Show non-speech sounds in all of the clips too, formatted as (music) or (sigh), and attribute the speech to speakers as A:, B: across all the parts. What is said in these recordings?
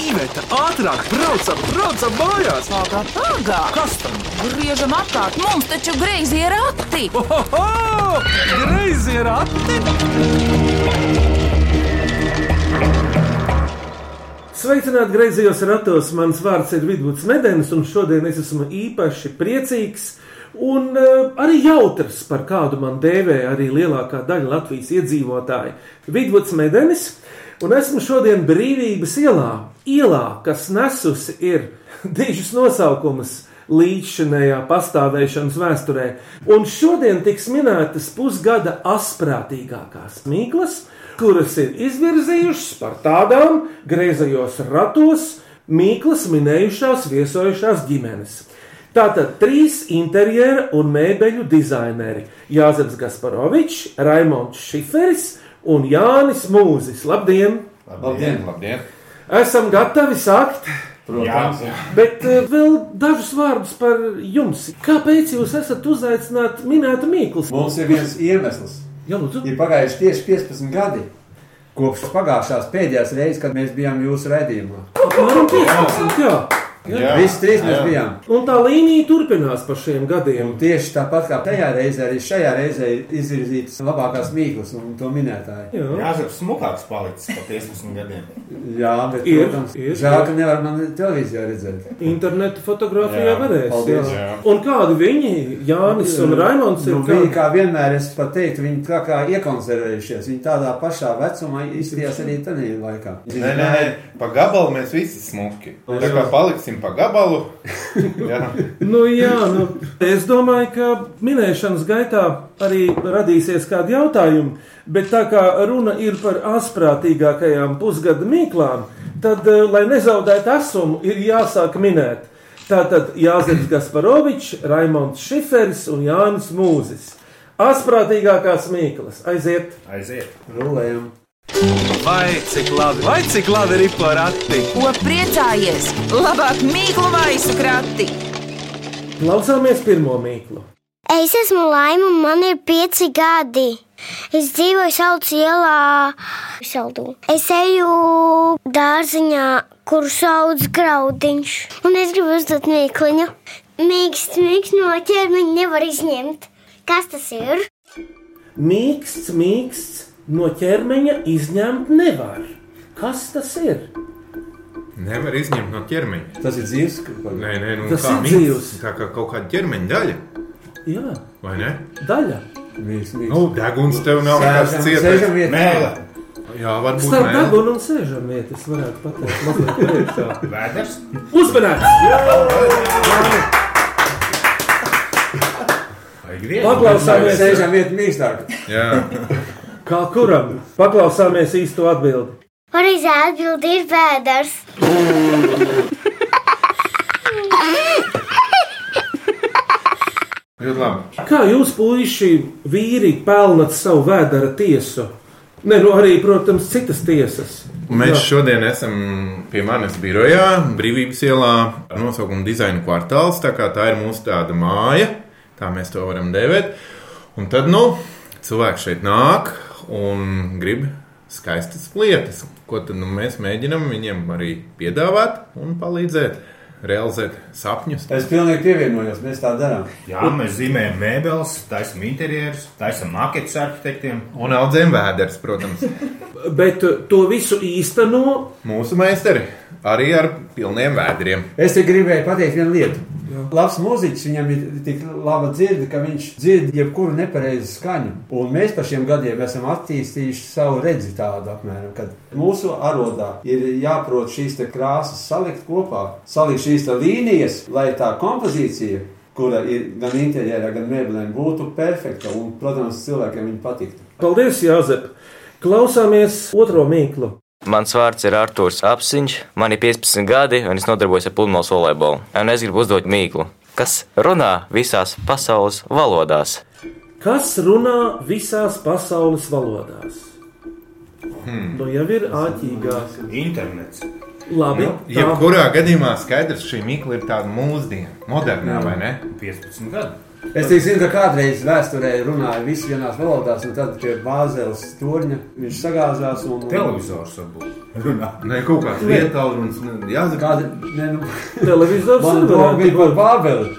A: Iveta, ātrāk, braucam, braucam mājās!
B: Pagā, pagā!
A: Kas tam?
B: Griežam apkārt, mums taču greizi ir akti!
A: Ohoho! Greizi ir ati!
C: Sveicināti griezījos ratos. Mans vārds ir Vidvuds Medens, un šodien es esmu īpaši priecīgs un uh, arī jautrs, par kādu man dēvē arī lielākā daļa Latvijas iedzīvotāji. Vidvuds Medenis, un esmu šodien brīvības ielā, ielā, kas nesusi ir (laughs) dižus nosaukumus līdzšinējā pastāvēšanas vēsturē, un šodien tiks minētas pusgada asprātīgākās mīklas, kuras ir izvirzījušas par tādām griezajos ratos mīklas minējušās viesojušās ģimenes. Tātad trīs interjera un mēbeļu dizaineri - Jānis Gasparovičs, Raimons Šiferis un Jānis Mūzis. Labdien!
D: Labdien! Labdien.
C: Esam gatavi sākt!
D: Protams, jā.
C: Bet eh, vēl dažus vārdus par jums. Kāpēc jūs esat uzaicināti minēt mīklu?
D: mums ir viens iemesls.
C: Jā, nu lūdzu.
D: Ir pagājuši tieši 15 gadi kopš pagājušās pēdējās reizes, kad mēs bijām jūsu redzējumā.
C: Apmēram 15. Jā.
E: Jā.
D: Visi trīs mēs
E: Jā.
D: bijām.
C: Un tā līnija turpinās pa šiem gadiem.
D: Un tieši tāpat kā tajā reizē, arī šajā reizē ir izvirzītas labākās mīklas un to minētāji.
C: Jā.
E: Jā, zina, smukāks palicis pa 15 gadiem.
D: Jā, bet,
C: Ir,
D: protams,
C: ir.
D: žēl, ka nevar mani televīzijā redzēt.
C: Interneta fotografijā
E: Jā,
C: varēs.
D: paldies.
E: Jā.
C: Un kādi viņi, Jānis un Raimons, ir
D: Nu,
C: kā-
D: viņi kā vienmēr, es pat teiktu, viņi tā kā iekonservējušies. Viņi tādā pašā vecumā izskatījās arī tajā laikā.
E: Nē, nē, nē, pa gabalu mēs visi smuki. Tā kā paliksim pa (laughs) gabalu. Jā,
C: Nu, jā, nu, es domāju, ka minēšanas gaitā arī radīsies kādi jautājumi, bet tā kā runa ir par asprātīgākajām pusgada mīklām, tad, eh, lai nezaudētu asumu, ir jāsāk minēt. Tātad Jānis Gasparovičs, Raimons Šifers un Jānis Mūzis. Asprātīgākās mīklas aiziet!
E: aiziet.
D: Rulējam.
A: Vai cik labi, vai cik labi ir porati!
B: Ko priecājies? Labāk mīklu maisu krati!
C: Klausāmies pirmo mīklu!
F: Es esmu laima, un man ir pieci gadi. Es dzīvoju Saucā ielā, Saldū. Es eju dārziņā, kur sauc graudiņš. Un es gribu uzdot mīkluņu. Mīksts, mīksts no ķermeņa nevar izņemt. Kas tas ir?
C: Mīksts, mīksts, no ķermeņa izņemt nevar. Kas tas ir?
G: Nevar izņemt no ķermeņa.
D: Tas ir dzīves pagājums.
G: Nē, nē, nu,
C: Tas
G: kā
C: ir
G: mīksts,
C: dzīvs.
G: Tā kā kaut kāda ķermeņa daļa,
C: Jā,
G: vai ne?
C: daļa.
G: Nu, deguns tev nav
D: Sēžam-
G: nekas
D: sēžam
G: cietais.
D: vietā.
E: Mēle,
G: Jā, varbūt
C: Starp
G: nē.
C: dabūnu un sēžam vietu, es varētu pateikt, mazliet priekšā.
E: vēders.
C: Uzmanīgs! Paklausāmies,
D: Sēžam vietā mīkstāk.
G: Jā,
C: kā kuram. Paklausāmies īsto atbildi.
F: Pareizā atbilde ir vēders.
G: ļoti labi.
C: Kā jūs, puiši, vīri, pelnat savu vēdara tiesu? Nē, nu arī, protams, citas tiesas.
G: Mēs
C: Jā.
G: šodien esam pie manis birojā, Brīvības ielā, ar nosaukumu Dizaina kvartāls. Tā, kā tā ir mūsu tāda māja, tā mēs to varam dēvēt. Un tad, nu, cilvēki šeit nāk un grib skaistas lietas, ko tad nu, mēs mēģinam viņiem arī piedāvāt un palīdzēt realizēt sapņus.
D: Es pilnīgi pievienojos, mēs tā darām.
H: Jā, mēs zīmējam mēbeles, taisām interjerus, taisām maketus arhitektiem.
G: Un audzēm vēders,
C: (laughs)
G: protams,
C: Bet eh, to visu īsteno
G: mūsu meistari arī ar pilniem vēdriem.
D: Es te gribēju pateikt vienu lietu. Labs mūziķis, viņam ir tik laba dzirde, ka viņš dzird jebkuru nepareizu skaņu. Un mēs par šiem gadiem esam attīstījuši savu redzi tādu apmēram, kad mūsu arodā ir jāprot šīs te krāsas salikt kopā, salikt šīs te līnijas, lai tā kompozīcija, kura ir gan interjerā, gan mēbelēm, būtu perfekta un, protams, cilvēkiem viņa patiktu.
C: Paldies, Jāzep! Klausāmies otro mīklu.
I: Mans vārds ir Arthurs Apziņš, man ir 15 gadi, un es nodarbojos ar pludmales volejbolu. Un es gribu uzdot mīklu, kas runā visās pasaules valodās.
C: Kas runā visās pasaules valodās? Hmm. Nu, jau ir āķīgāk.
H: Internets.
C: Labi,
G: Nu,
C: tā
G: Jebkurā gadījumā skaidrs, šī mīkla ir tāda mūsdiena, modernā vai ne?
H: 15 gadu.
D: Es tikai zinu, ka kādreiz vēsturē runāja visi vienās valodās, un tad pie Bāzeles torņa viņš sagāzās. Un,
H: Televizors varbūt runā.
E: Nē, kaut kāds vietālrunis. Jāsaka,
D: Kāda ne, nu,
C: Televizors
D: man
C: varētu
D: bija par Bābeli.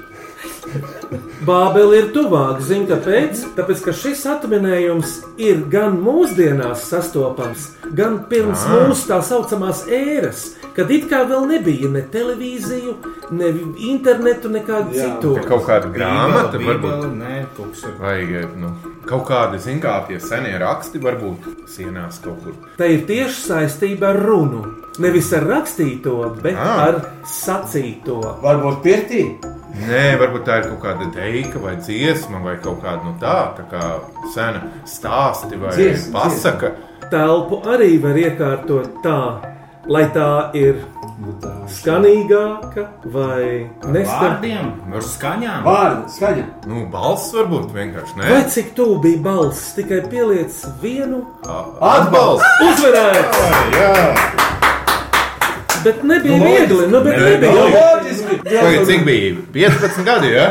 C: Bābeli ir tuvāk, zina, kāpēc? Tāpēc, ka šis atminējums ir gan mūsdienās sastopams, gan pirms
G: Ā.
C: mūsu tā saucamās ēras, kad it kā vēl nebija ne televīziju, ne internetu, nekādu
D: Jā.
C: citu.
G: Kaut kāda grāmata, varbūt.
H: Nē, tūkstoši.
G: Vai nu, kaut kāda zināmā, tie senie raksti, varbūt sienās kaut kur.
C: Tā ir tieši saistība ar runu. Nevis ar rakstīto, bet
G: Ā.
C: ar sacīto.
D: Varbūt pirtī.
G: Nē, varbūt tā ir kaut kāda deika vai dziesma vai kaut kāda nu, tā, tā kā sena stāsti vai
D: Dziesma,
G: pasaka.
C: Telpu arī var iekārtot tā, lai tā ir
D: Nu, tā.
C: skanīgāka vai neskanīgāka.
H: Vārdiem, ar skaņām.
D: Vārdi, skaņa.
G: Nu, balss varbūt vienkārši ne.
C: Vai cik tuvu bija balss, tikai pieliec vienu
G: Atbalsts!
C: uzvarēt,
E: jā,
C: bet nebija viegli. Nu, bet
G: Nebija
C: nebija.
G: loģiski.
D: Loģiski.
G: Vai cik bija 15 gadi? Ja?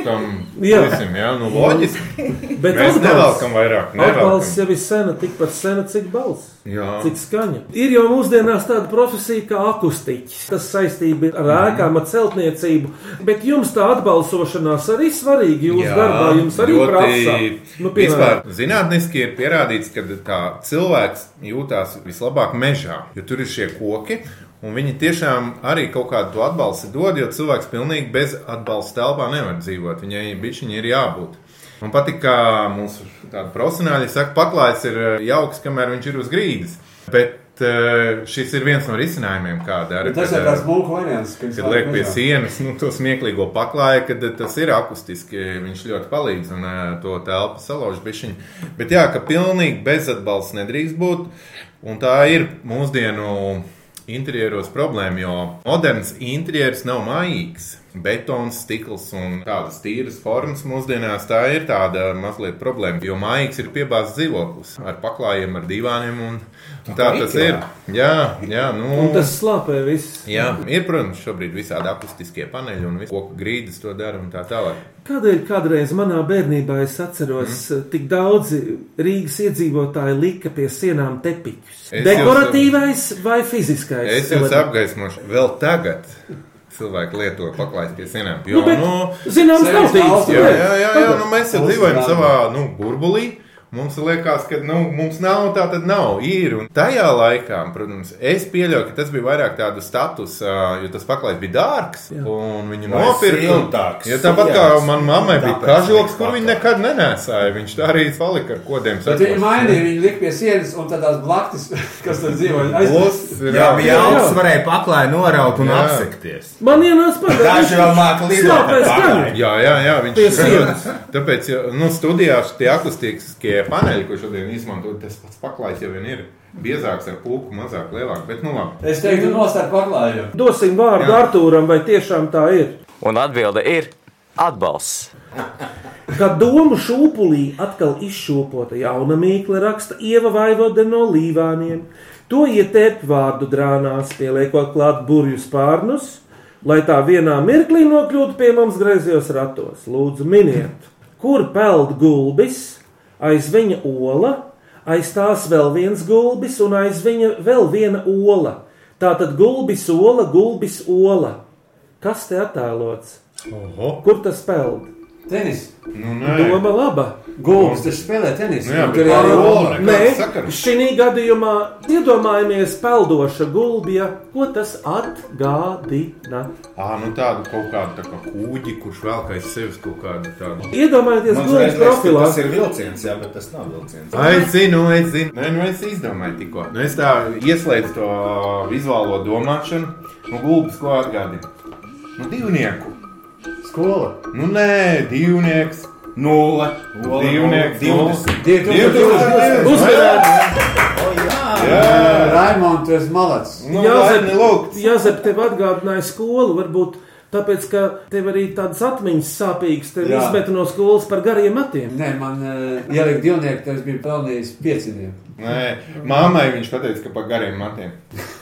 G: Tam
C: Jā.
G: visam, jā, nu, loģiski.
C: Bet
G: Mēs
C: atbalsts,
G: nevelkam vairāk.
C: atbalsts
G: Nevelkam.
C: jau ir sena, tikpat sena, cik balss.
G: Jā,
C: Cik skaņa? Ir jau mūsdienās tāda profesija kā akustiķis, kas saistīta ar ēkām, ar celtniecību, bet jums tā atbalsošanās arī svarīga. Jūs
G: Jā,
C: darbā jums arī
G: ļoti
C: prasa. Nu,
G: vispār
C: piemēram,
G: Zinātniski ir pierādīts, ka tā cilvēks jūtās vislabāk mežā, jo tur ir šie koki. Un viņi tiešām arī kaut kādu to atbalstu dod, jo cilvēks pilnīgi bez atbalsta telpā nevar dzīvot. Viņai bišķiņi ir jābūt. Man patīk, kā mūsu tādi profesionāļi saka, paklājs ir eh, jauks, kamēr viņš ir uz grīdas. Bet eh, šis ir viens no risinājumiem, kāda arī eh,
D: Tas ir tāds mūku variants, kad
G: Kad liek pie sienas, nu, to smieklīgo paklāju, kad eh, tas ir akustiski, viņš ļoti palīdz un eh, to telpu salauž bišķiņu. Bet jā, ka pilnīgi bezatbalsts nedrīkst būt, un tā ir mūsdienu interjeros problēma, jo moderns interjers nav mājīgs. Betons, stikls un tādas tīras formas mūsdienās tā ir tāda mazliet problēma, jo mājīgs ir piebāzts dzīvoklis ar paklājiem, ar divāniem un, un tā tas ir. Jā, jā, nu.
C: un tas slāpē viss.
G: Jā, ir, protams, šobrīd visādi akustiskie paneļi un visu koku grīdas to dara un tā tālāk.
C: Kādēļ kādreiz manā bērnībā es atceros,
G: Mhm.
C: mm. tik daudzi Rīgas iedzīvotāji lika pie sienām tepiķus?
G: Es
C: Dekoratīvais vai fiziskais?
G: Es jūs
C: elements?
G: apgaismošu vēl tagad. Cilvēki lieto paklājas pie sienām.
C: Nu,
G: Jo,
C: bet,
G: nu,
C: zināms,
D: Sevis
C: tautības
D: tautas,
G: jā,
C: lietas.
G: jā, jā, jā nu, mēs jau
D: Mums
G: dzīvojam
D: nav.
G: savā nu, burbulī. Mums liekas, ka nu, mums nav tā, tad nav. Ir. Un tajā laikā, protams, es pieļauju, ka tas bija vairāk tādu statusu, jo tas paklājs bija dārgs. Jā. Un viņu
H: Vai
G: nopirka.
H: siltāks,
G: Ja tāpat kā
H: siltāks.
G: manai mammai bija
H: Tāpēc
G: kažoks,
H: bija
G: kur viņa
H: paklājs.
G: nekad nenēsāja. Viņš tā arī palika ar kodiem.
D: Bet viņi mainīja, viņi lika pie sienas un tādās blaktis, (laughs) kas tur dzīvo.
G: Plus, ir
H: Jā, bija
C: jā.
H: augsts, varēja paklāju noraut un
G: Jā.
H: apsekties.
C: Man ienāca pagājušajā
H: Daži vēl māca lidot ar
C: Slāpēs gan.
H: paklāju.
G: Jā, jā, jā viņš
C: Pie
G: ir
C: sienas.
G: tāds. Tāpēc ja, nu, studijās tie akustiskie paneļi, ko šodien izmanto, tas pats paklājs jau vien ir. Biezāks ar puku, mazāk, lielāk. Bet, nu, labi.
D: Es teiktu, nostāj paklājumu.
C: Dosim vārdu
G: Jā.
C: Arthūram, vai tiešām tā ir.
I: Un atbilde ir atbalsts.
C: Kad domu šūpulī atkal izšūpota jauna mīkla, raksta Ieva Vaivode no Līvāniem. To ietērp vārdu drānās, pieliekot klāt burbuļu spārnus, lai tā vienā mirklī nokļūtu pie mums griezījos ratos. Lūdzu, miniet, kur peld gulbis, aiz viņa ola, aiz tās vēl viens gulbis un aiz viņa vēl viena ola. Tātad gulbis ola, gulbis ola. Kas te attēlots?
G: Oho,
C: Kur tas peld?
D: Tenis.
G: nu, nē.
C: Doma laba.
D: Gulbis taču spēlē tenisu.
G: Nu jā,
D: Un
G: bet
D: tur
G: tā
D: arī
G: ir
D: ola.
G: ola. Kāds
C: Nē,
G: sakars?
C: šī gadījumā iedomājamies peldoša gulbja, ko tas atgādina.
G: Ā, nu tādu kaut kādu tā kā kūģi, kurš velk aiz sevis kaut kādu tādu.
C: Iedomājieties
H: Man
C: gulbjas
H: liekas,
C: profilā.
H: ka tas ir vilciens, jā, bet tas nav vilciens.
G: Es zinu, es zinu. Nē, nu es izdomāju tikko. Nu, es tā ieslēdzu to vizuālo domāšanu. Nu, gulbis, ko atgādina? Nu, divnieku.
D: Skola.
G: Nu, nē, divnieks.
H: Nulle. Ola,
G: Divnieks.
H: nulle,
G: nulle.
D: 2000.
C: Uzvedēt!
D: Raimond, tu esi malacis.
G: Nu,
C: Jāzep,
G: laipni lūgts.
C: Jāzep, tev atgādināja skolu, varbūt tāpēc, ka tev arī tādas atmiņas sāpīgas, tev
D: Jā.
C: izmet no skolas par gariem matiem.
D: Nē, man uh, ielika divnieku, tas bija pelnījis pieciem.
G: Nē, māmai viņš teica, ka pa gariem matiem.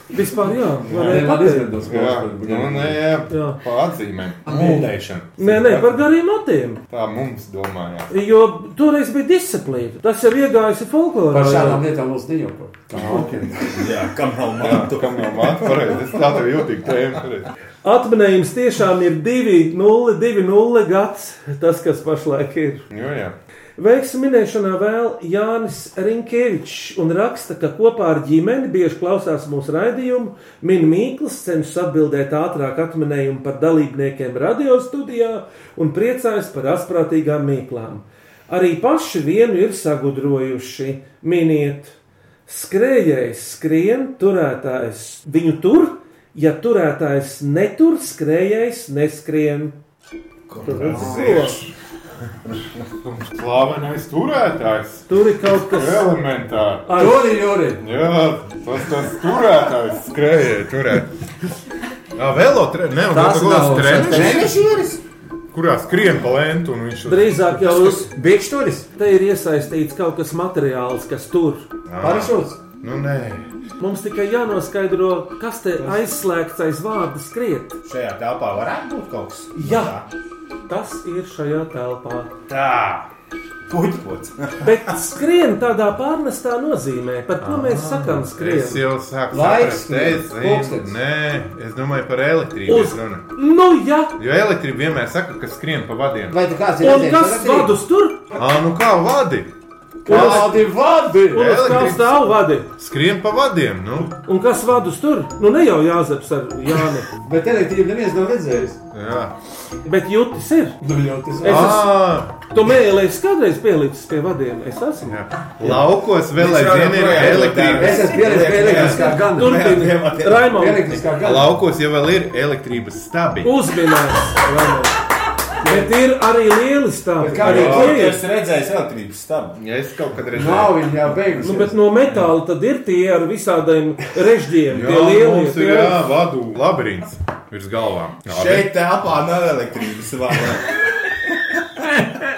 C: Vispār, jā, varēja
D: Man
C: pateikt.
D: izdodas
E: Jā,
D: kaut
E: nu,
D: kā.
E: nē, jā.
C: Jā.
E: Pa atzīmēm. Mūlēšana.
C: Nē, nē, par gariem matiem.
E: Tā mums domājām.
C: Jo toreiz bija disciplīna. Tas jau iegājās folklorā.
D: Par šādām
C: jā.
D: lietām mums nejauko. (laughs)
H: Jā, kam nav
E: Jā,
H: mantu?
E: kam jau māte pareizi. Es tā tev jūtīgu tēmu. pareizi.
C: Atminējums tiešām ir 2,0 gads, tas, kas pašlaik ir.
E: Jo, jā.
C: Veiks minēšanā vēl Jānis Rinkevičs un raksta, ka kopā ar ģimeni bieži klausās mūsu raidījumu, min mīklas, cenšas atbildēt ātrāk atminējumu par dalībniekiem radiostudijā un priecājas par asprātīgām mīklām. Arī paši vienu ir sagudrojuši, miniet, skrējējs skrien, turētājs viņu tur, ja turētājs netur, skrējējs neskrien. Tur ir ko?
E: Slavenais turētājs.
C: Tur ir kaut kas.
E: Elementāri.
C: Ai,
D: Jori, Jori!
E: Jā, tas tas turētājs skrēja, turētājs. Jā, velo treniņš, ne, un
D: Tas
E: tas
D: nav
E: ir treniņš,
D: treneris Joris!
E: kurā skrien pa lentu un viņš
C: Drīzāk jau uz
D: Bikšturis!
C: te ir iesaistīts kaut kas materiāls, kas tur.
D: Parašūts!
E: Nu, nē.
C: Mums tikai jānoskaidro, kas te aizslēgts aiz vārda skriet.
H: Šajā telpā varētu būt kaut kas. no
C: Jā.
H: tā.
C: Tas ir šajā telpā.
H: Tā. Puķpots.
C: Bet skrien tādā pārnestā nozīmē, par ko mēs sakām
G: Es
C: skrien.
G: jau sāku
D: Laiks,
G: saprast, es zinu,
D: pulkstenis.
G: nē, es domāju par elektrību.
C: Uz-
G: es runu.
C: Nu, jā,
G: Jo elektrība vienmēr saka, ka skrien pa vadiem.
D: Vai tu kāds ir
C: un kas vadus tur?
G: Ā, nu kā vadi?
D: Kādi vadi!
C: Un uz kā
G: Elektrības-
C: stāv vadi?
G: Skrien pa vadiem, nu.
C: Un kas vadus tur? Nu, ne jau Jāzeps ar Jāni,
D: Bet elektrību neviens nav redzējis.
G: Jā.
C: bet jūtis ir.
D: Nu jau tas
C: Es esmu,
G: Ā,
C: tu mēlējies kādreiz pielīdzis pie vadiem, es esmu.
G: jā. Laukos vēl
H: Viņš
G: aizvien
H: vēl
G: ir
H: joprojām
G: elektrība.
H: dara.
D: Es esmu pieredzējis pie elektriskā
C: Nu,
D: gana.
C: Turpiniet,
H: jā.
C: Raimonds.
D: Elektriskā gana.
G: Laukos jau vēl ir elektrības stabi.
C: Uzminēts, Raimonds. Bet ir arī lieli stāvi.
D: Bet kā viņi
C: tie ir?
H: Es redzēju elektrības stabu.
G: Ja es kaut kad redzēju,
D: Nav viņa jau
C: Nu,
D: beigusies.
C: bet no metāla tad ir tie ar visādiem režģiem.
G: Jā,
C: Tie lielie
G: mums ir
C: tie-
G: jā, vadu labirints virs galvām. Labi.
H: Šeit telpā nav elektrības vārda.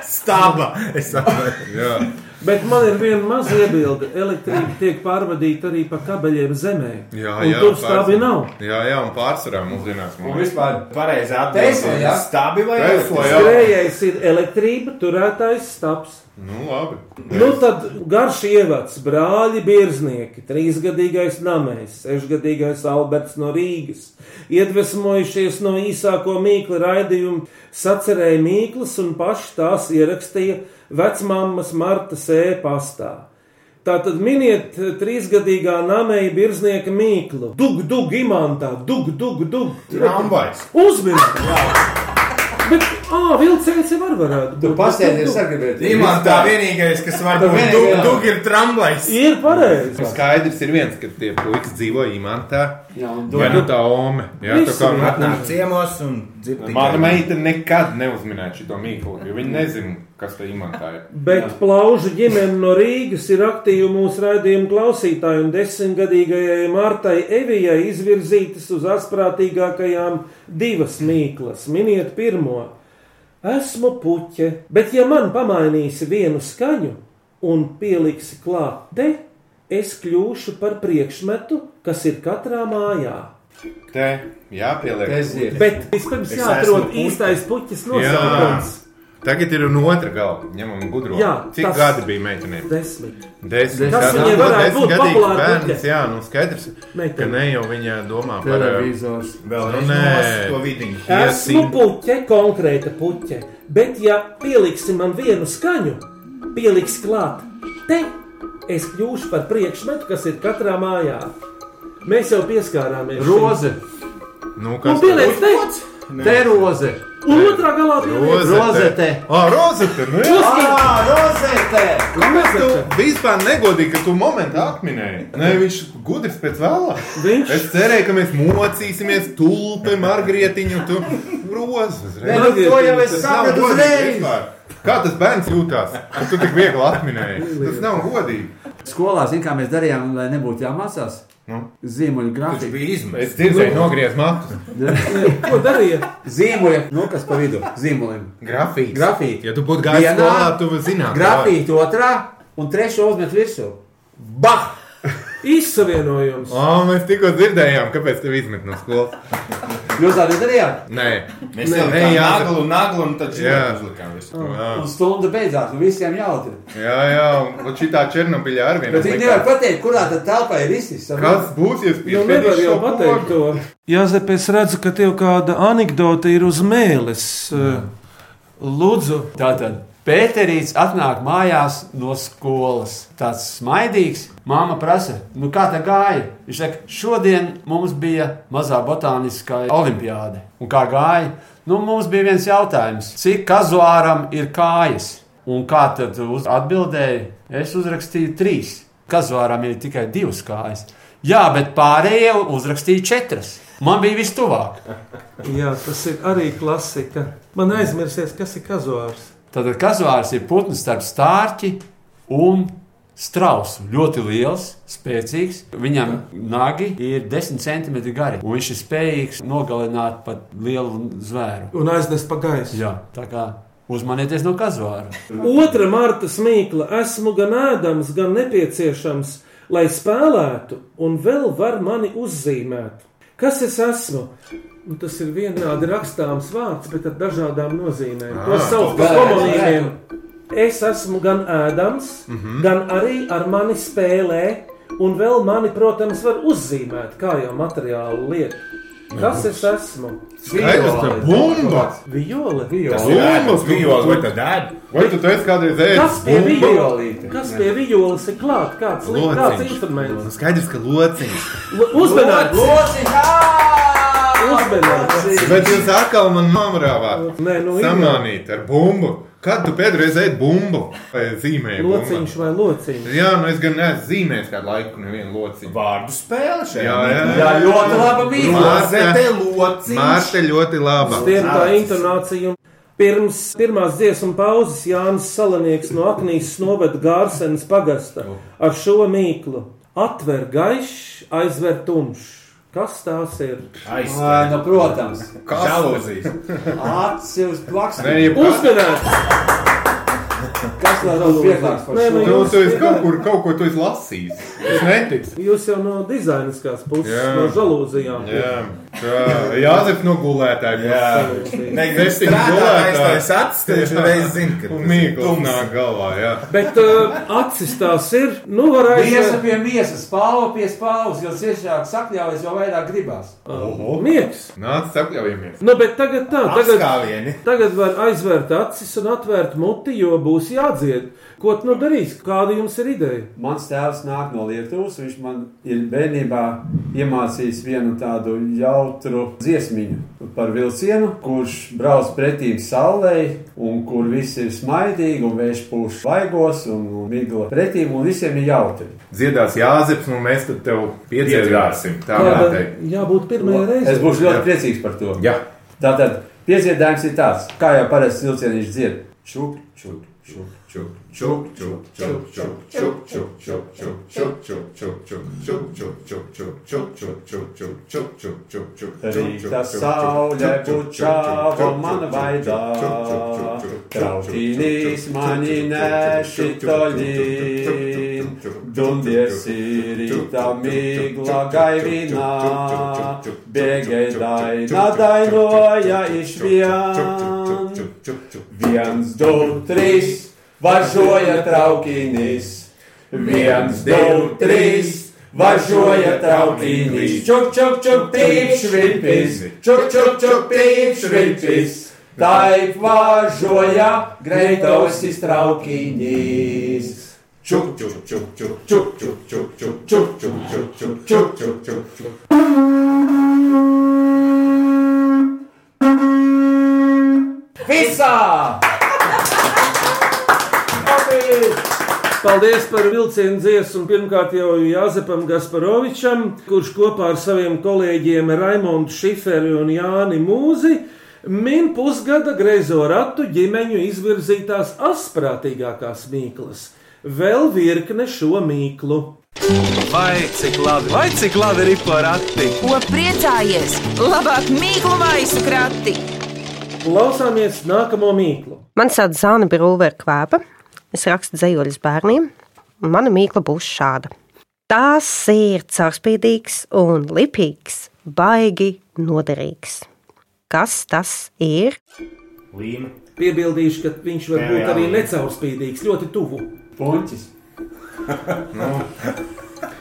H: Staba. Es saprotu.
G: Jā.
C: Bet man ir viena maza iebilde. Elektrība tiek pārvadīta arī pa kabeļiem zemē.
G: Jā,
C: Un
G: jā,
C: tur stāvi
G: pārsvarā.
C: nav.
G: Jā, jā, un pārsvarā mūsdienās
D: Un
G: mums ir.
D: vispār.
H: Pareizi
D: Tesla, jā.
H: atbildēt. Stabi vai
G: Tesla,
H: elektrības?
G: jā.
C: Skrējējs ir elektrība, turētājs stāvs.
G: Nu, labi.
C: Nu, tad garš ievads, brāļi, birznieki, trīsgadīgais namēs, sešgadīgais Alberts no Rīgas. Iedvesmojušies no īsāko mīklu raidījuma, sacerēja mīklas un paši tās ierakstīja vecmāmas Marta sēpastā. Tātad miniet eh, trīsgadīgā namēja birznieka mīklu. Dug, dug, imantā, dug, dug, dug.
H: Tramvajs.
C: Uzmanīgi! Bet, ah, vilciens jau var varētu.
D: Tu
C: būt.
D: pasēdi ir sagribēt.
H: Imants tā vienīgais, kas var būt
D: vienīgais,
H: dug,
D: jā.
H: dug ir tramvajs.
C: Ir pareizi!
G: Skaidrs ir viens, ka tie puikas dzīvo imantā.
D: Jā, un
G: Vai nu tā ome? Jā, tā kā
C: Visur.
G: nu-
H: Atnāk ciemos un dzird tikai-
E: Mana meita nekad neuzminēja šo mīklu, jo viņa nezina, kas tā imantā ir.
C: Bet plaužu ģimene no Rīgas ir aktīva mūsu raidījuma klausītāja un desmitgadīgajai Martai Evijai izvirzītas uz asprātīgākajām divas mīklas. Miniet pirmo. Esmu puķe, bet ja man pamainīsi vienu skaņu un pieliksi klāt te, es kļūšu par priekšmetu, kas ir katrā mājā.
E: Te jāpieliek.
D: Teziet.
C: Bet vispirms
H: Es esmu
C: jāatrod
H: puķe.
C: īstais puķis nosaukums.
G: Tagad ir no otra galva. Ņemam gudro.
C: Jā,
G: Cik
C: tas-
G: gadi bija meitenēm?
C: Desmit.
G: Desmit
C: Tas
G: gadi.
C: viņai
G: Nu,
C: varētu būt
G: desmitgadīgs
C: populāra
G: bērns.
C: puķe.
G: Jā, nu skaidrs, ka
C: Meitene.
G: ne jau viņa domā par ā,
D: Televizors.
H: Vēl
G: Nu,
H: nu,
G: nē.
H: nē, to vidiņu.
C: Esmu
G: Iesim.
C: puķe, konkrēta puķe, bet ja pieliksi man vienu skaņu, pieliks klāt, te es kļūšu par priekšmetu, kas ir katrā mājā. Mēs jau pieskārāmies.
D: Roze.
G: nu,
C: šim.
G: kas
C: nu, pieliec te,
D: Teroze.
C: un otrā galā pieliec.
D: Rozete.
G: Ah, rozete. Nu, jā.
C: Uzskati,
D: Rozete.
G: Kāpēc tu vispār negodīgi, ka tu momentā atminēji? Nē, viņš gudrs pēc vēlā.
C: Viņš-
G: Es cerēju, ka mēs mocīsimies tulpi, margrietiņu, tu rozes.
D: Nē,
G: redz.
D: nu to jau es
G: Tas nav
D: sapratu
G: godīgi
D: uzreiz.
G: vispār. Kā tas bērns jūtās, ka tu tik viegli atminēji? Tas nav godīgi.
D: Skolā, zin, kā mēs darījām, lai nebūtu jāmācās?
G: Nu.
D: Zīmoļu
H: Tas
D: grafika.
H: bija izmisms.
G: Es dzirdēju, nogriezt matus.
C: ko darīja?
D: Zīmoļu, nu kas pa vidu? Zīmolim.
G: Grafīks.
D: Grafīti.
G: Ja tu būtu gājis
D: Vienā-
G: skolā, tu zinātu.
D: Grafīti otrā un trešo uzmet virsū. Bah!
C: Izsavienojums.
G: O, mēs tikko dzirdējām, kāpēc tev izmet no skolas.
D: Jūs arī darījāt?
G: Nē,
H: Mēs jau
G: Nē,
H: tādā
G: jā.
H: naglu, naglu un tad
G: Jā.
H: šitā uzlikām visu.
G: jā,
D: Un stunda beidzās, un visiem jautri.
G: jā, jā. un šī tā Černobiļa ar vienu.
D: Bet viņi nevar pateikt, kurā tad telpā ir visis.
G: Kas būs, ja
C: Nu, nevar jau pateikt to. Jā, Zep, es redzu, ka tev kāda anekdote ir uz mēles. Lūdzu,
D: Tātad Pēterīts atnāk mājās no skolas. Tāds smaidīgs. Māma prasa, nu kā tā gāja? Viņš saka, šodien mums bija mazā botāniskā olimpiāde. Un kā gāja? Nu, mums bija viens jautājums, cik kazuāram ir kājas? Un kā tad uz atbildēja? Es uzrakstīju trīs. Kazuāram ir tikai divas kājas. Jā, bet pārējie uzrakstīja četras. Man bija vis tuvāk.
C: jā, tas ir arī klasika. Man aizmirsies, kas ir kazuārs.
D: Tātad kazuārs ir putns starp stārķi un strausu. Ļoti liels, spēcīgs. Viņam nagi ir 10 cm gari. Un viņš ir spējīgs nogalināt pat lielu zvēru.
C: Un aiznest pa gaisu.
D: Jā, tā kā uzmanieties no kazuāra.
C: Otra marta smīkla esmu gan ēdams, gan nepieciešams, lai spēlētu, un vēl var mani uzzīmēt. Kas es esmu? Nu, tas ir vienādi rakstāms vārds, bet ar dažādām nozīmēm.
G: Ah,
C: To sauc par
D: vēl,
C: homonīmiem. Es esmu gan ēdams, mm
G: Mhm.
C: -hmm. gan arī ar mani spēlē, un vēl mani, protams, var uzzīmēt kā jau materiālu lietu. Kas es esmu?
G: Skaidrs, ka bumba!
C: Viole.
D: Violīte.
G: Bumba!
H: Vijoli, vai tad ēd?
G: Vai tu to esi kādreiz
C: Kas
G: ēdis?
C: pie viola?
D: Violīte.
C: Kas pie violas ir klāts? Kāds, li- kāds
G: Lociņš.
C: instruments?
G: Nu, Skaidrs, ka lociņš.
C: L- Uzmanīgs! Uzmanīgs!
G: Bet jūs atkal man nomrāvāt.
C: Nē, nu ir.
G: Samanīt ar bumbu. Kad tu pēdreiz ēdi bumbu? Vai zīmēji bumbu?
C: Lociņš vai lociņš?
G: Jā, nu es gan neesmu zīmējis kādu laiku nevienu lociņu.
H: Vārdu spēle
G: Jā,
H: šajā.
G: jā,
D: Jā, ļoti laba mīkla.
H: Mazete lociņš.
G: Mārta ļoti laba.
C: Tiem tā intonācija. un Pirms pirmās dziesmu pauzes Jānis Salanieks no Aknijas novada Gārsenes pagasta
G: Oh.
C: ar šo mīklu. Atver gaišs, aizver tumšs. Kas tās
D: (laughs)
C: ir?
D: Ai,
H: Aizsver.
D: nu, protams,
H: Žalūzijas.
D: acis uz
G: Nē,
D: plakstu.
G: jebkas.
C: Uzmanīgs!
D: Kas vēl nav pieklāts par
C: Nē, nu,
D: šo?
G: Nu, tu esi kaut kur, kaut ko tu esi lasījis. Es neticu.
C: Jūs jau no dizainiskās puses,
G: Jā.
C: no žalūzijām.
G: Jā, tā Jāzef no gulētājiem.
H: Nē,
G: Septiņi
H: strādājais
G: gulētāji.
H: tās acis, tad viņš uzreiz zina, ka
G: Un
H: tas ir
G: mīklu
H: tums.
G: nāk galvā, jā.
C: Bet uh, acis tās ir. Nu, var
D: Miesa
C: aizvērt.
D: pie miesas, pāva pie spāvas, jo ciešāk sakļaujas, jo vairāk gribās.
C: Miegs!
G: Nāc, sapļaujamies.
C: Nu, bet tagad tā, tagad.
H: Apskāvieni.
C: Tagad var aizvērt acis un atvērt muti, jo būs jādzied. Ko tu nu darīs? Kāda jums ir ideja?
D: Mans tēvs nāk no Lietuvas. Viņš man ir bērnībā iemācījis vienu tādu jautru dziesmiņu par vilcienu, kurš brauc pretī saulei, un kur viss ir smaidīgi, un vējš pūš vaigos, un un migla pretī, un visiem ir jautri.
G: dziedās Jāzeps, un mēs tad tev piedzīvāsim. Tā varētu
C: Kāda
G: teikt.
C: jābūt pirmajai
D: Es
C: reizei?
D: būšu ļoti priecīgs par to.
G: Jā,
D: Tātad piedziedājums ir tāds, kā jau parasti vilcienīši dzied. Šuk, šuk, šuk.
G: čuk, čuk, čuk, čuk, čuk, čuk, čuk, čuk, čuk, čuk, čuk, čuk, čuk, čuk, čuk, čuk, čuk, čuk, čuk, čuk, čuk, čuk, čuk, čuk, čuk, čuk,
D: Rīta
G: čuk, čuk,
D: saule
G: čuk, čuk, čuk,
D: pučāva
G: čuk,
D: man
G: čuk,
D: vaidā,
G: čuk, čuk, čuk, čuk, čuk,
D: trautīnīs
G: čuk,
D: mani
G: čuk,
D: neši
G: čuk, čuk,
D: tolīn,
G: čuk, čuk, čuk,
D: dundies
G: čuk,
D: ir rīta
G: čuk,
D: migla
G: čuk, čuk,
D: gaivinā,
G: čuk, čuk, čuk, čuk,
D: bēgai
G: čuk, čuk,
D: daina
G: čuk, čuk,
D: dainoja
G: čuk, čuk, čuk,
D: išvien.
G: čuk, čuk, čuk, čuk.
D: Viens, divi, trīs, važoja traukinys. Viens, divi, trīs, važoja traukinys. Čuk, čuk, čuk, pīpš, vilpis, čuk, čuk, čuk, pīpš, vilpis. Taip važoja greitausis traukinys. Čuk, čuk, čuk, čuk, čuk, čuk, čuk, čuk, čuk, čuk, čuk, čuk, čuk, čuk, čuk, čuk. Visā!
C: Paldies par vilcienu dziesmu. Pirmkārt jau Jāzepam Gasparovičam, kurš kopā ar saviem kolēģiem Raimondu Šiferi un Jāni Mūzi min pusgada greizo ratu ģimeņu izvirzītās asprātīgākās mīklas. Vēl virkne šo mīklu.
A: Vai cik labi, vai cik labi ir porati?
B: Ko priecājies? Labāk mīklu maisu krati!
C: Klausāmies nākamo mīklu.
J: Man sauc Zāna Brūvera kvēpa. Es rakstu dzējoļus bērniem. un Mana mīkla būs šāda. Tās ir caurspīdīgs un lipīgs, baigi noderīgs. Kas tas ir?
H: Līme.
C: Piebildīšu, ka viņš var
H: Jā,
C: būt
H: jā,
C: arī
H: jā.
C: necaurspīdīgs, ļoti tuvu.
D: Puņķis.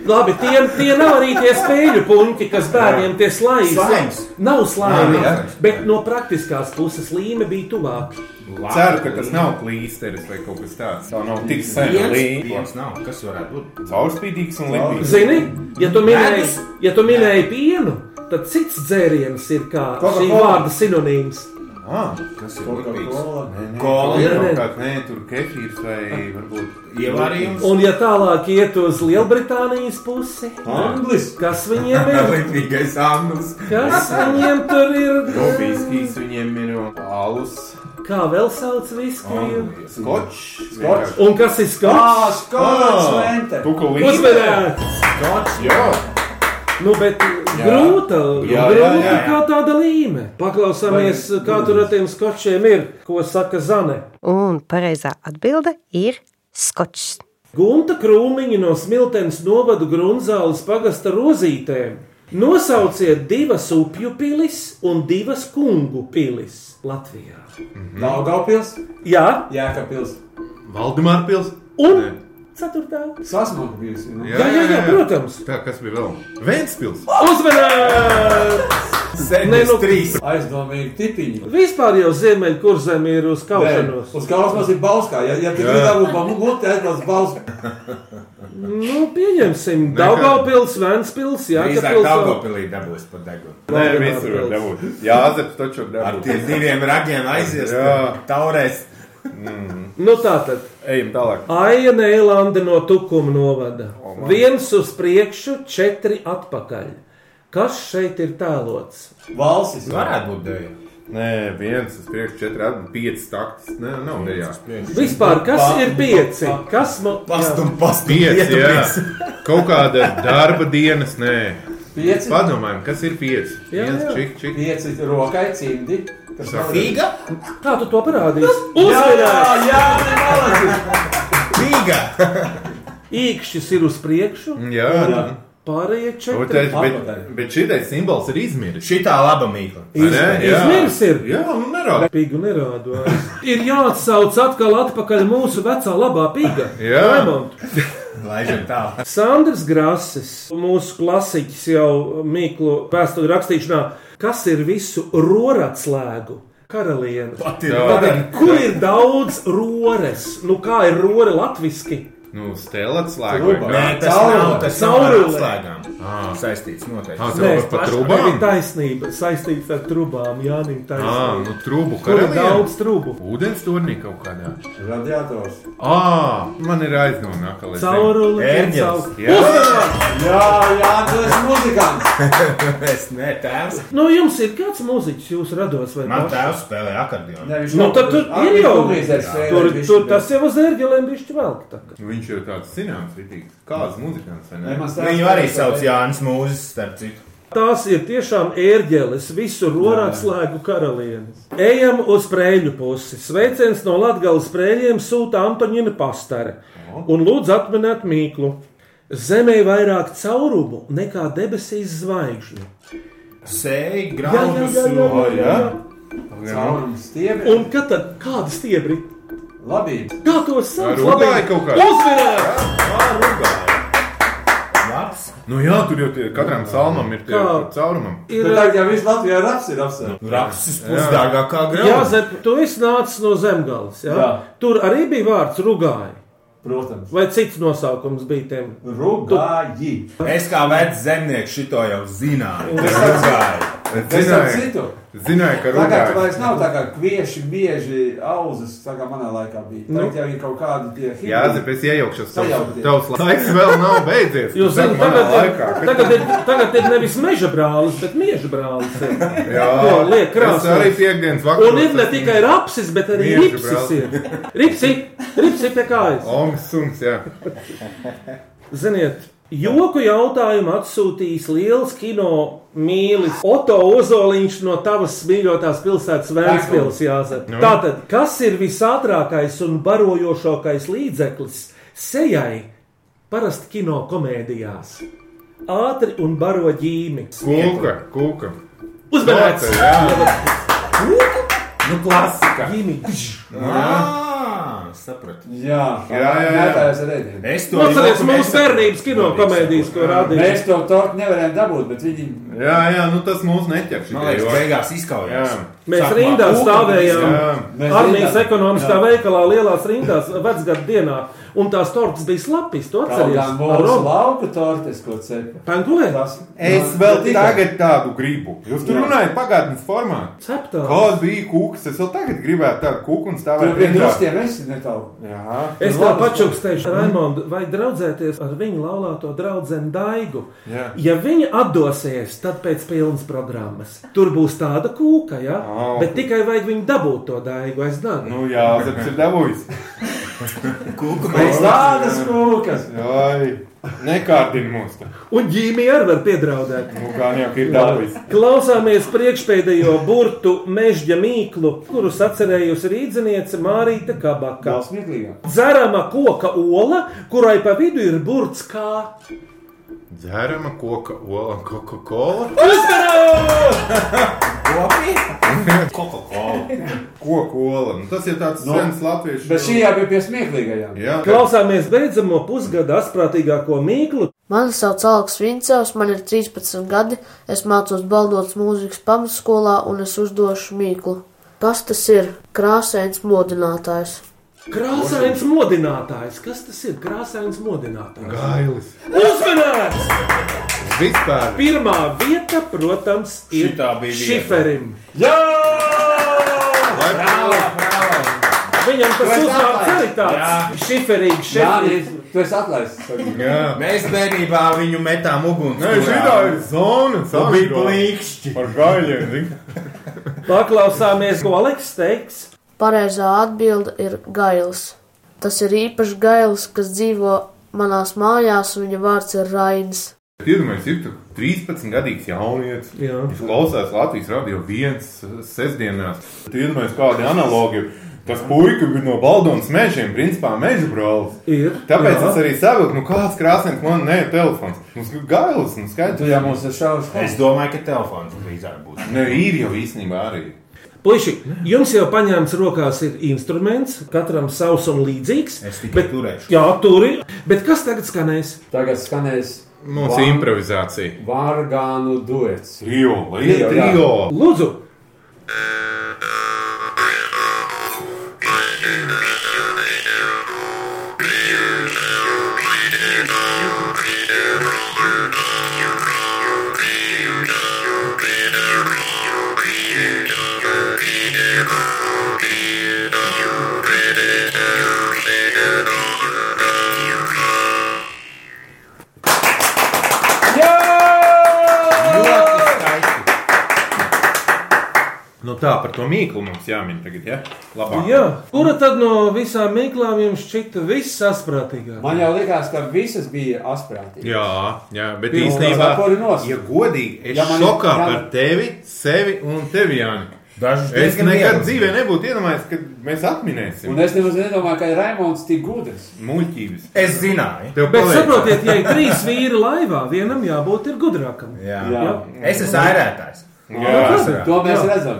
C: Labi, tie, tie nav arī tie spēļu puņi, kas bērniem tie slāņi.
H: Slaims.
C: Nav slāņi,
G: Nā, jā.
C: bet no praktiskās puses līme bija tuvāk.
H: Labi,
G: Ceru, ka tas
H: līme.
G: nav klīsteris vai kaut kas tāds.
E: Tā nav tik sena
C: Viens.
E: līnija.
H: Viens nav. Kas varētu būt?
E: Caurspīdīgs un lipīgs.
C: Zini, ja tu minēji,
H: Medus.
C: ja tu minēji pienu, tad cits dzēriens ir kā šī
E: Coca-Cola.
C: vārda sinonīms.
E: Ah, kas ir lipīgs?
H: Kola.
E: Kola ir
C: Nē, nē.
E: kaut kāda, nē, tur kefīrs vai varbūt
H: Ievarījums.
C: Un, ja tālāk iet uz Lielbritānijas pusi,
D: Anglis.
C: kas viņiem ir?
G: (laughs)
E: Lipīgais amnus.
C: Kas viņiem tur
G: Nu.
C: ir?
E: Dobīskīs viņiem ir un alus.
C: Kā vēl sauc viskiju?
E: Skočs.
D: Skočs.
C: Un kas ir skats?
D: Skots Lente.
E: Tuku līnija.
C: Uzvedēt!
E: Skočs, jā.
C: Nu, bet grūta,
E: Jā,
C: grūta
E: jā, jā, jā.
C: kā tāda līme. Paklausāmies, kā tur ar tiem skočiem ir, ko saka Zane.
J: Un pareizā atbilde ir skočs.
C: Gunta krūmiņa no smiltenes novada grunzāles pagasta rozītēm. Nosauciet divas upju pilis un divas kungu pilis Latvijā.
D: Daugavpils.
C: Jā,
D: Jēkabpils.
G: Valdemāra pils.
C: un ceturtā.
D: Sasmaku bijusi. nu.
C: Jā, jā, jā, protams.
G: Tā kas bija vēl? Vēnspils.
C: Uzvedēt! Nē, nu,
E: trīs.
D: Aizdomīgi tipiņi.
C: Vispār jau ziemeļkurzem ir uz
D: Nē,
C: kaušanos.
D: Uz galvas ir balskā. Ja, ja tu gribi dabūt pa muguti, aizdomās balskā.
C: Nu, pieņemsim, Daugaupils, Ventspils,
H: Drīzāk
C: Jākapils.
H: Daugavpilī dabūs par degunu.
E: Nē, visur var dabūt. Jā, Azeps taču var
H: Ar
E: dabūt.
H: tiem diviem ragiem aizies.
E: Jā.
H: Taurēs.
C: Nu, tātad.
E: Ejam tālāk.
C: Aija Nēlande no Tukuma novada. Viens uz priekšu, četri atpakaļ. Kas šeit ir tēlots?
D: Valsis.
H: Varētu būt deja.
G: Nē, viens uz priekšu, četri, abi pieci taktis. Nē, nav dejā.
C: Vispār, kas ir pieci? Kas man
H: Pastum, pastum.
G: Pieci, jā.
H: ietupies.
G: Kaut kāda darba dienas, nē.
D: Pieci.
G: Padomājam, kas ir pieci?
C: Jā,
G: Viens,
C: jā.
G: čik, čik.
D: Pieci rokai cimdi. Kas nav-
H: Fīga?
C: Kā tu to parādīsi?
D: Jā,
C: Uzvedās!
D: jā, nevalasi.
H: Fīga!
C: Īkšķis ir uz priekšu,
G: Jā, jā.
C: pārējie
G: O,
C: četri.
G: tā- Mm. Bet, bet šitais simbols ir izmiris.
H: Šitā laba mīkla.
G: Vai ne? Jā.
C: Izmirs ir.
G: Jā, nu nerāda.
C: Pīgu nerādu. vairs. Ir jāatsauc atkal atpakaļ mūsu vecā labā pīga.
G: Jā.
C: Raimond.
H: Laižam tālāk.
C: Sandrs Grāsis, mūsu klasiķis jau Mīklu vēsturi rakstīšanā, kas ir visu roratslēgu karaliene.
H: Pat ir
C: Tātad, Kur ir daudz rores? Nu, kā ir rore latviešu?
G: Nu, stelats lēkā.
D: Truba.
H: Nē,
G: Nē,
H: tas nav, tas nav ar
C: Caurulē.
H: atslēgām. Saistīts noteikti.
G: Ah, tā var pat trubām.
C: taisnība saistīta ar trubām. Jā,
H: Ah,
C: nē,
G: Ā,
C: taisnība.
G: nu trūbu
C: Kur ir
G: karalieni.
C: daudz trubu?
G: Ūdens turnī kaut kādā.
D: Radiators.
G: Ā, man ir aizdomā, ka līdz
C: Caurulīgi,
H: Ērģeles.
C: caur-
G: Jā,
D: Jā, jā, tu esi muzikants.
H: Es ne tēvs.
C: Nu, jums ir kāds mūziķis, jūs rados vai
H: Man
C: paši?
H: tēvs spēlē akordionu.
D: Ne, viņš
C: Nu,
D: nav-
C: tad tur
D: Ah,
C: ir
D: viņš
C: jau
D: gumijas spēlē,
C: Tur,
D: viņš-
C: tur tas jau uz ērģelēm bišķi velk. tā kā.
G: Nu, viņš ir tāds zināms, rītīgs. Kāds muzikants, vai
D: Nē,
G: ne?
D: man stāsta,
H: Viņu arī
D: ka-
H: sauc Jānis Mūzis, starp citu.
C: Tās ir tiešām ērģeles, visu rorakslēgu karalienes. Ejam uz prēļu pusi. Sveiciens no Latgales prēļiem sūta Antoņina Pastare. Un lūdzu atminēt Mīklu. Zemē vairāk caurumu nekā debesīs zvaigžņu. Jā, jā,
H: Sēji, graudus.
C: jā, jā, jā,
H: un-
C: jā.
D: Caurums stiebri.
C: Un kad tad kāda stiebri?
D: Labība.
C: Kā to sauc?
G: Ar ugāju kaut kā.
C: Uzvarēt!
H: Labs.
G: Nu jā, tur jau tie katram salmam ir tie
C: Kā?
G: caurumam.
C: Ir, eh,
D: Bet tagad jau viss Latvijā raps ir
H: Nu.
D: apsvērts.
H: Rapsis pusdārgākā
C: Jā,
H: grauda.
C: Zep, tu esi nācis no zemgājas. Ja?
D: Jā.
C: Tur arī bija vārds rugāji.
D: Protams.
C: Vai cits nosaukums bija tiem?
D: Rugāji.
H: Es kā vecs zemnieks šito jau zināju. Rugāju.
D: Es ar
G: Zināju,
D: citu.
G: zināju ka
D: Tagad tur
G: rudāji.
D: vairs nav tā kā kvieši, bieži auzas, tā kā manā laikā bija.
C: Nu.
D: Tagad jau ir kaut kādi tie hibridi.
G: Jā, Zep, es iejaukšos. Tavs,
D: Sajaukties.
G: tavs laiks vēl nav beidzies.
C: Jūs
G: Tu saki,
C: zināt,
G: manā
C: tagad, ir-
G: laikā, kad-
C: tagad, ir- tagad ir nevis meža brālis, bet meža brālis.
G: (laughs)
C: ir.
G: Jā,
C: Ko liek krāsā?
G: Es arī piekdienas vakarā.
C: Un ir ne tikai rapsis, bet arī
G: Meža
C: ripsis. ir. Ripsi, ripsi pie kājas.
G: Ongs, sungs, jā.
C: Ziniet, joku jautājumu atsūtījis liels kino mīlis Oto Ozoliņš no tavas mīļotās pilsētas Vēncpils. Jāzep.
G: Nu.
C: Tātad, kas ir visātrākais un barojošākais līdzeklis sejai, parasti kino komēdijās. Ātri un baro ģīmi.
G: Kūka, kūka.
C: Uzmanīgs!
G: Kūka, jā.
C: Nu,
G: klasika.
C: Ģīmi!
H: Ā, Sapratu.
D: Jā,
H: Jā, jā, jā.
D: tā es redzu.
H: Es to
C: Atcerieties
H: joku
C: mūsu
H: nesaprotu.
C: bērnības kino komēdijas, ko rādīja.
D: Mēs to tortu nevarējām dabūt, bet viņi
G: Jā, jā, nu tas mūs neķer.
H: Man liekas, beigās
G: Jā.
H: izkaujās.
C: Mēs
H: Sākumā
C: rindā
H: kūka,
C: stāvējām
H: tad
D: Mēs
C: armijas
D: rindā-
C: ekonomiskā veikalā, lielās rindās, vecgadu dienā, un tās tortas bija slapjas. Tu
D: Kādām
C: atceries,
D: mūsu lauka tortes, ko cepa.
C: Pangulē?
D: Tas
G: Es
D: Man-
G: vēl
D: Bet Nu, tikai-
G: tagad tādu gribu. Jūs tur
D: Jā.
G: runājat pagātnes formā.
C: Ceptā.
G: Kāds bija kūks? Es vēl tagad gribētu tādu kūku un
D: Tur
G: stāvēt
D: bija
G: rindā.
D: krustiem, es netālu.
G: Jā.
C: Es
D: Nu,
C: tev
D: labi,
C: pačukstēšu, Raimonds, vai draudzēties ar viņu laulāto draugu Daigu.
G: Jā.
C: Ja viņa atdosies, tad pēc pilnas programmas tur būs tāda kūka, ja?
G: Au.
C: bet tikai vajag viņu dabūt to daigu aiz dārza.
G: Nu jā, Zeps ir dabūjis.
H: Kūka
D: Pēc
H: mēs
D: tādas kūkas.
G: Ai, nekārdini mūs. te.
C: Un ģīmija arī var piedraudēt.
G: Nu kā jau ir dabūjis.
C: Klausāmies priekšpēdējo burtu mežģa mīklu, kuru atcerējusi rīzniece Mārīta Kabaka.
D: Kā smieklīgāk.
C: Dzerama koka ola, kurai pa vidu ir burts kā.
G: Dzērama koka ola un Coca-Cola.
C: Uzvarā!
H: Coca-Cola.
G: Koka ola. Nu, tas ir tāds
D: Nu,
G: sens latviešu.
D: Bet šī jau bija pie smieklīgajām.
G: Jā,
C: Klausāmies beidzamo pusgada asprātīgāko mīklu,
K: Mani sauc Aleks Vincevs, man ir 13 gadi, es mācos baldotas mūzikas pamatskolā un es uzdošu mīklu. Kas tas ir? Krāsains modinātājs.
C: Krāsains modinātājs. Kas tas ir? Krāsains modinātājs.
G: Gailis.
C: Uzmanīgs!
G: Vispār.
C: Pirmā vieta, protams, ir
H: Šitā bija vieta.
C: Šiferim.
D: Jā!
G: Vai
C: Viņam tas
D: Vai
C: uzvārds
D: tā?
C: arī tāds - šiferīgs, šiferīgs.
D: Dārīt, Tu esi atlaists.
G: Jā.
H: Mēs bērnībā viņu metām uguns.
G: Nē, šī ir zona.
H: Tā bija plīkšķi.
G: Par gaļiem, zini.
C: Paklausāmies, ko Aleks teiks.
K: Pareizā atbilde ir gails. Tas ir īpašs gails, kas dzīvo manās mājās, un viņa vārds ir Rains.
G: Iedomājieties, ir tur 13 gadīgs jaunietis.
C: Jā.
G: Viņš klausās Latvijas radio viens eh, sestdienās. Tad iedomājieties, kādi analogi. Tas puika ir no Baldonas mežiem, principā meža brālis.
C: Ir, jā.
G: Tāpēc jā. es arī saprotu, nu kāds krāsains man ne ir telefons. Mums ir gailis, nu
D: Tu
G: skaidrs.
D: jau mums ir šausmas.
H: Es domāju, ka telefons drīzāk būs.
G: Ne, ir jau īstenībā arī.
C: Puiši, jums jau paņēmis rokās ir instruments, katram savs un līdzīgs.
H: Es tikai
C: Bet-
H: turēšu.
C: Jā, tur ir. Bet kas tagad skanēs?
D: Tagad skanēs
G: Mums
D: Vā-
G: ir improvizācija.
D: Vargānu duets.
G: Trio, lai ir
D: Trio, jā.
G: trio.
C: Lūdzu,
H: Ļoti skaisti.
G: Nu tā, par to mīklu mums jāmin tagad, ja? Labāk.
C: jā. kura tad no visām mīklām jums šķita visasprātīgākā?
D: Man jau likās, ka visas bija asprātīgas.
G: Jā, jā, bet
D: Pirmo
G: īstenībā,
D: zakoli nost.
G: ja godīgi, es
D: Ja
G: ja
D: man-
G: šokā
D: ja-
G: par tevi, sevi un tevi, Jāni.
H: Dažus
G: Es
H: diezgan
G: nekad
H: vienas.
G: dzīvē nebūtu iedomājies, ka mēs atminēsim
D: Un es nemaz nedomāju, ka ir Raimons tik gudrs.
G: muļķības.
H: Es zināju.
G: Tev
C: Bet
G: paliek-
C: saprotiet, ja ir trīs vīri laivā, vienam jābūt ir gudrākam.
H: Jā.
D: Jā.
H: Es esmu Nu, ērētājs.
G: Jā,
H: Jā.
D: To mēs redzam.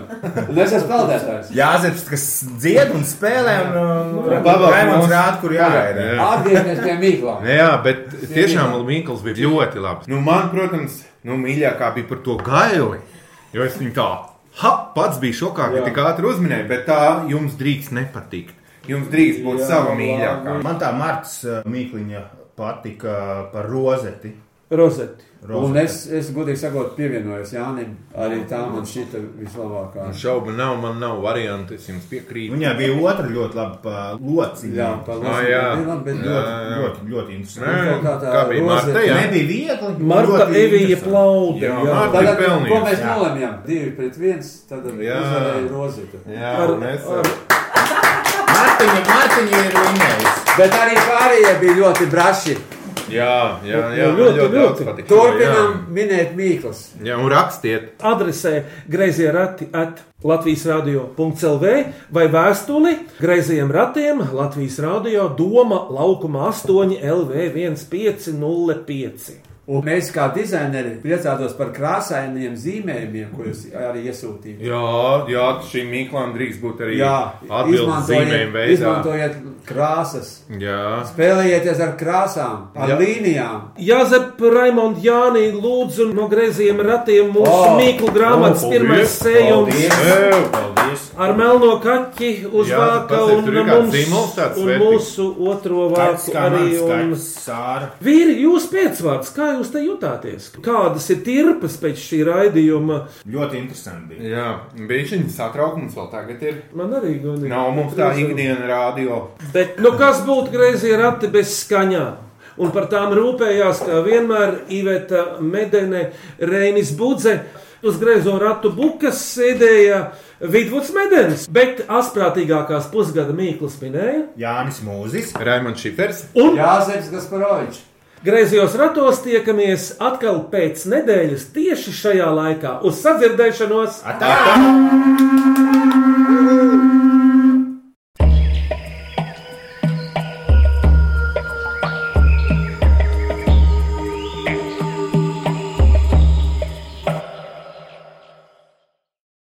D: Un es esmu peldētājs.
H: Jāzeps, kas dzied un spēlē, un, un
G: pavelk
H: Raimons
G: mūs.
H: rāda, kur jāēd.
G: Jā.
D: Atgriežamies pie
G: Nē,
D: Mīklām.
G: Nu jā, bet tiešām Mikls bija ļoti labs. Nu, man, protams, nu, mīļākā bija par to gaili. Jo es viņu tā, ha, pats biju šokā, ka
D: Jā.
G: tik ātri uzminēju, bet tā jums drīkst nepatikt. Jums drīkst būt
D: Jā,
G: sava
D: labi.
G: mīļākā.
H: Man tā Marta Mīkliņa patika uh, par rozeti.
C: Rozeti.
D: Un es, es godīgi sakot, pievienojos Jānim. Arī tā man šita vislabākā.
G: Šaubu nav, man nav variantu, es jums piekrītu.
H: Viņai bija otra ļoti laba lociņa.
D: Jā, paldies.
G: Ah, jā.
D: bet
G: Jā.
D: ļoti.
H: ļoti, ļoti interesanti.
G: Nē,
D: Kaut kā tā
G: kā bija
D: rozete.
G: Marta? Jā,
H: Nebija viegli.
C: Marta
H: ļoti
C: Evija
H: interesanti.
C: plauda.
G: Jā,
C: jā.
G: Marta.
D: Tagad,
G: pelnījis,
D: ko mēs
H: jā.
D: nolēmjam? Divi pret viens, tad
G: Jā.
D: uzvarēja Rozita.
G: jā
C: Ar-
G: mēs
C: ar-
H: Martiņa, Martiņa ir vinnējusi.
D: Bet arī pārējie bija ļoti braši.
G: Jā, jā, jā,
C: Nu,
G: man ļoti daudz patīk.
D: Turpinām minēt mīklas.
G: Jā, un rakstiet.
C: Adresē grazījā rati at Latvijas radio.clv vai vēstuli grazījiem ratiem Latvijas radio Doma laukuma 8 LV1505.
D: Un mēs kā dizaineri priecātos par krāsainiem zīmējumiem, ko jūs arī iesūtījāt.
G: Jā, jā šīm mīklām drīkst būt arī
D: Jā,
G: atbildes zīmējuma
D: izmantojiet,
G: veidā.
D: izmantojiet krāsas,
G: Jā.
D: spēlējieties ar krāsām, ar
C: Jā.
D: līnijām.
C: Jāzep Raimond Jānī lūdzu no grezījiem ratiem mūsu oh,
D: O,
C: mīklu grāmatas
D: o,
C: oh, pirmais sējums.
G: Tev!
H: Paldies!
C: Ar melno kaķi uz
G: Jā,
C: vāka
G: pats ir,
C: un,
G: tur ir kāds
C: mums,
G: zīmols tāds
C: un
G: vērtīgs.
C: mūsu otro vāku arī. Un...
H: sāra.
C: Vīri, jūs piecvārds, kā jūs te jutāties? Kādas ir tirpas pēc šī raidījuma?
H: Ļoti interesanti bija.
G: Jā, bija šī satraukums vēl tagad ir.
C: Man arī gudri.
G: Nav mums tā ikdiena rādio.
C: Bet nu, kas būtu greizi rati bez skaņām? Un par tām rūpējās, kā vienmēr, Iveta Medene, Reinis Budze. Uz griezo ratu bukas sēdēja Vidvuds Medens, bet asprātīgākās pusgada mīklas minēja.
H: Jānis Mūzis.
G: Raimons Šifers.
C: Un
D: Jāzeps Gasparovičs.
C: Griezījos ratos tiekamies atkal pēc nedēļas tieši šajā laikā uz sadzirdēšanos!
H: Atā!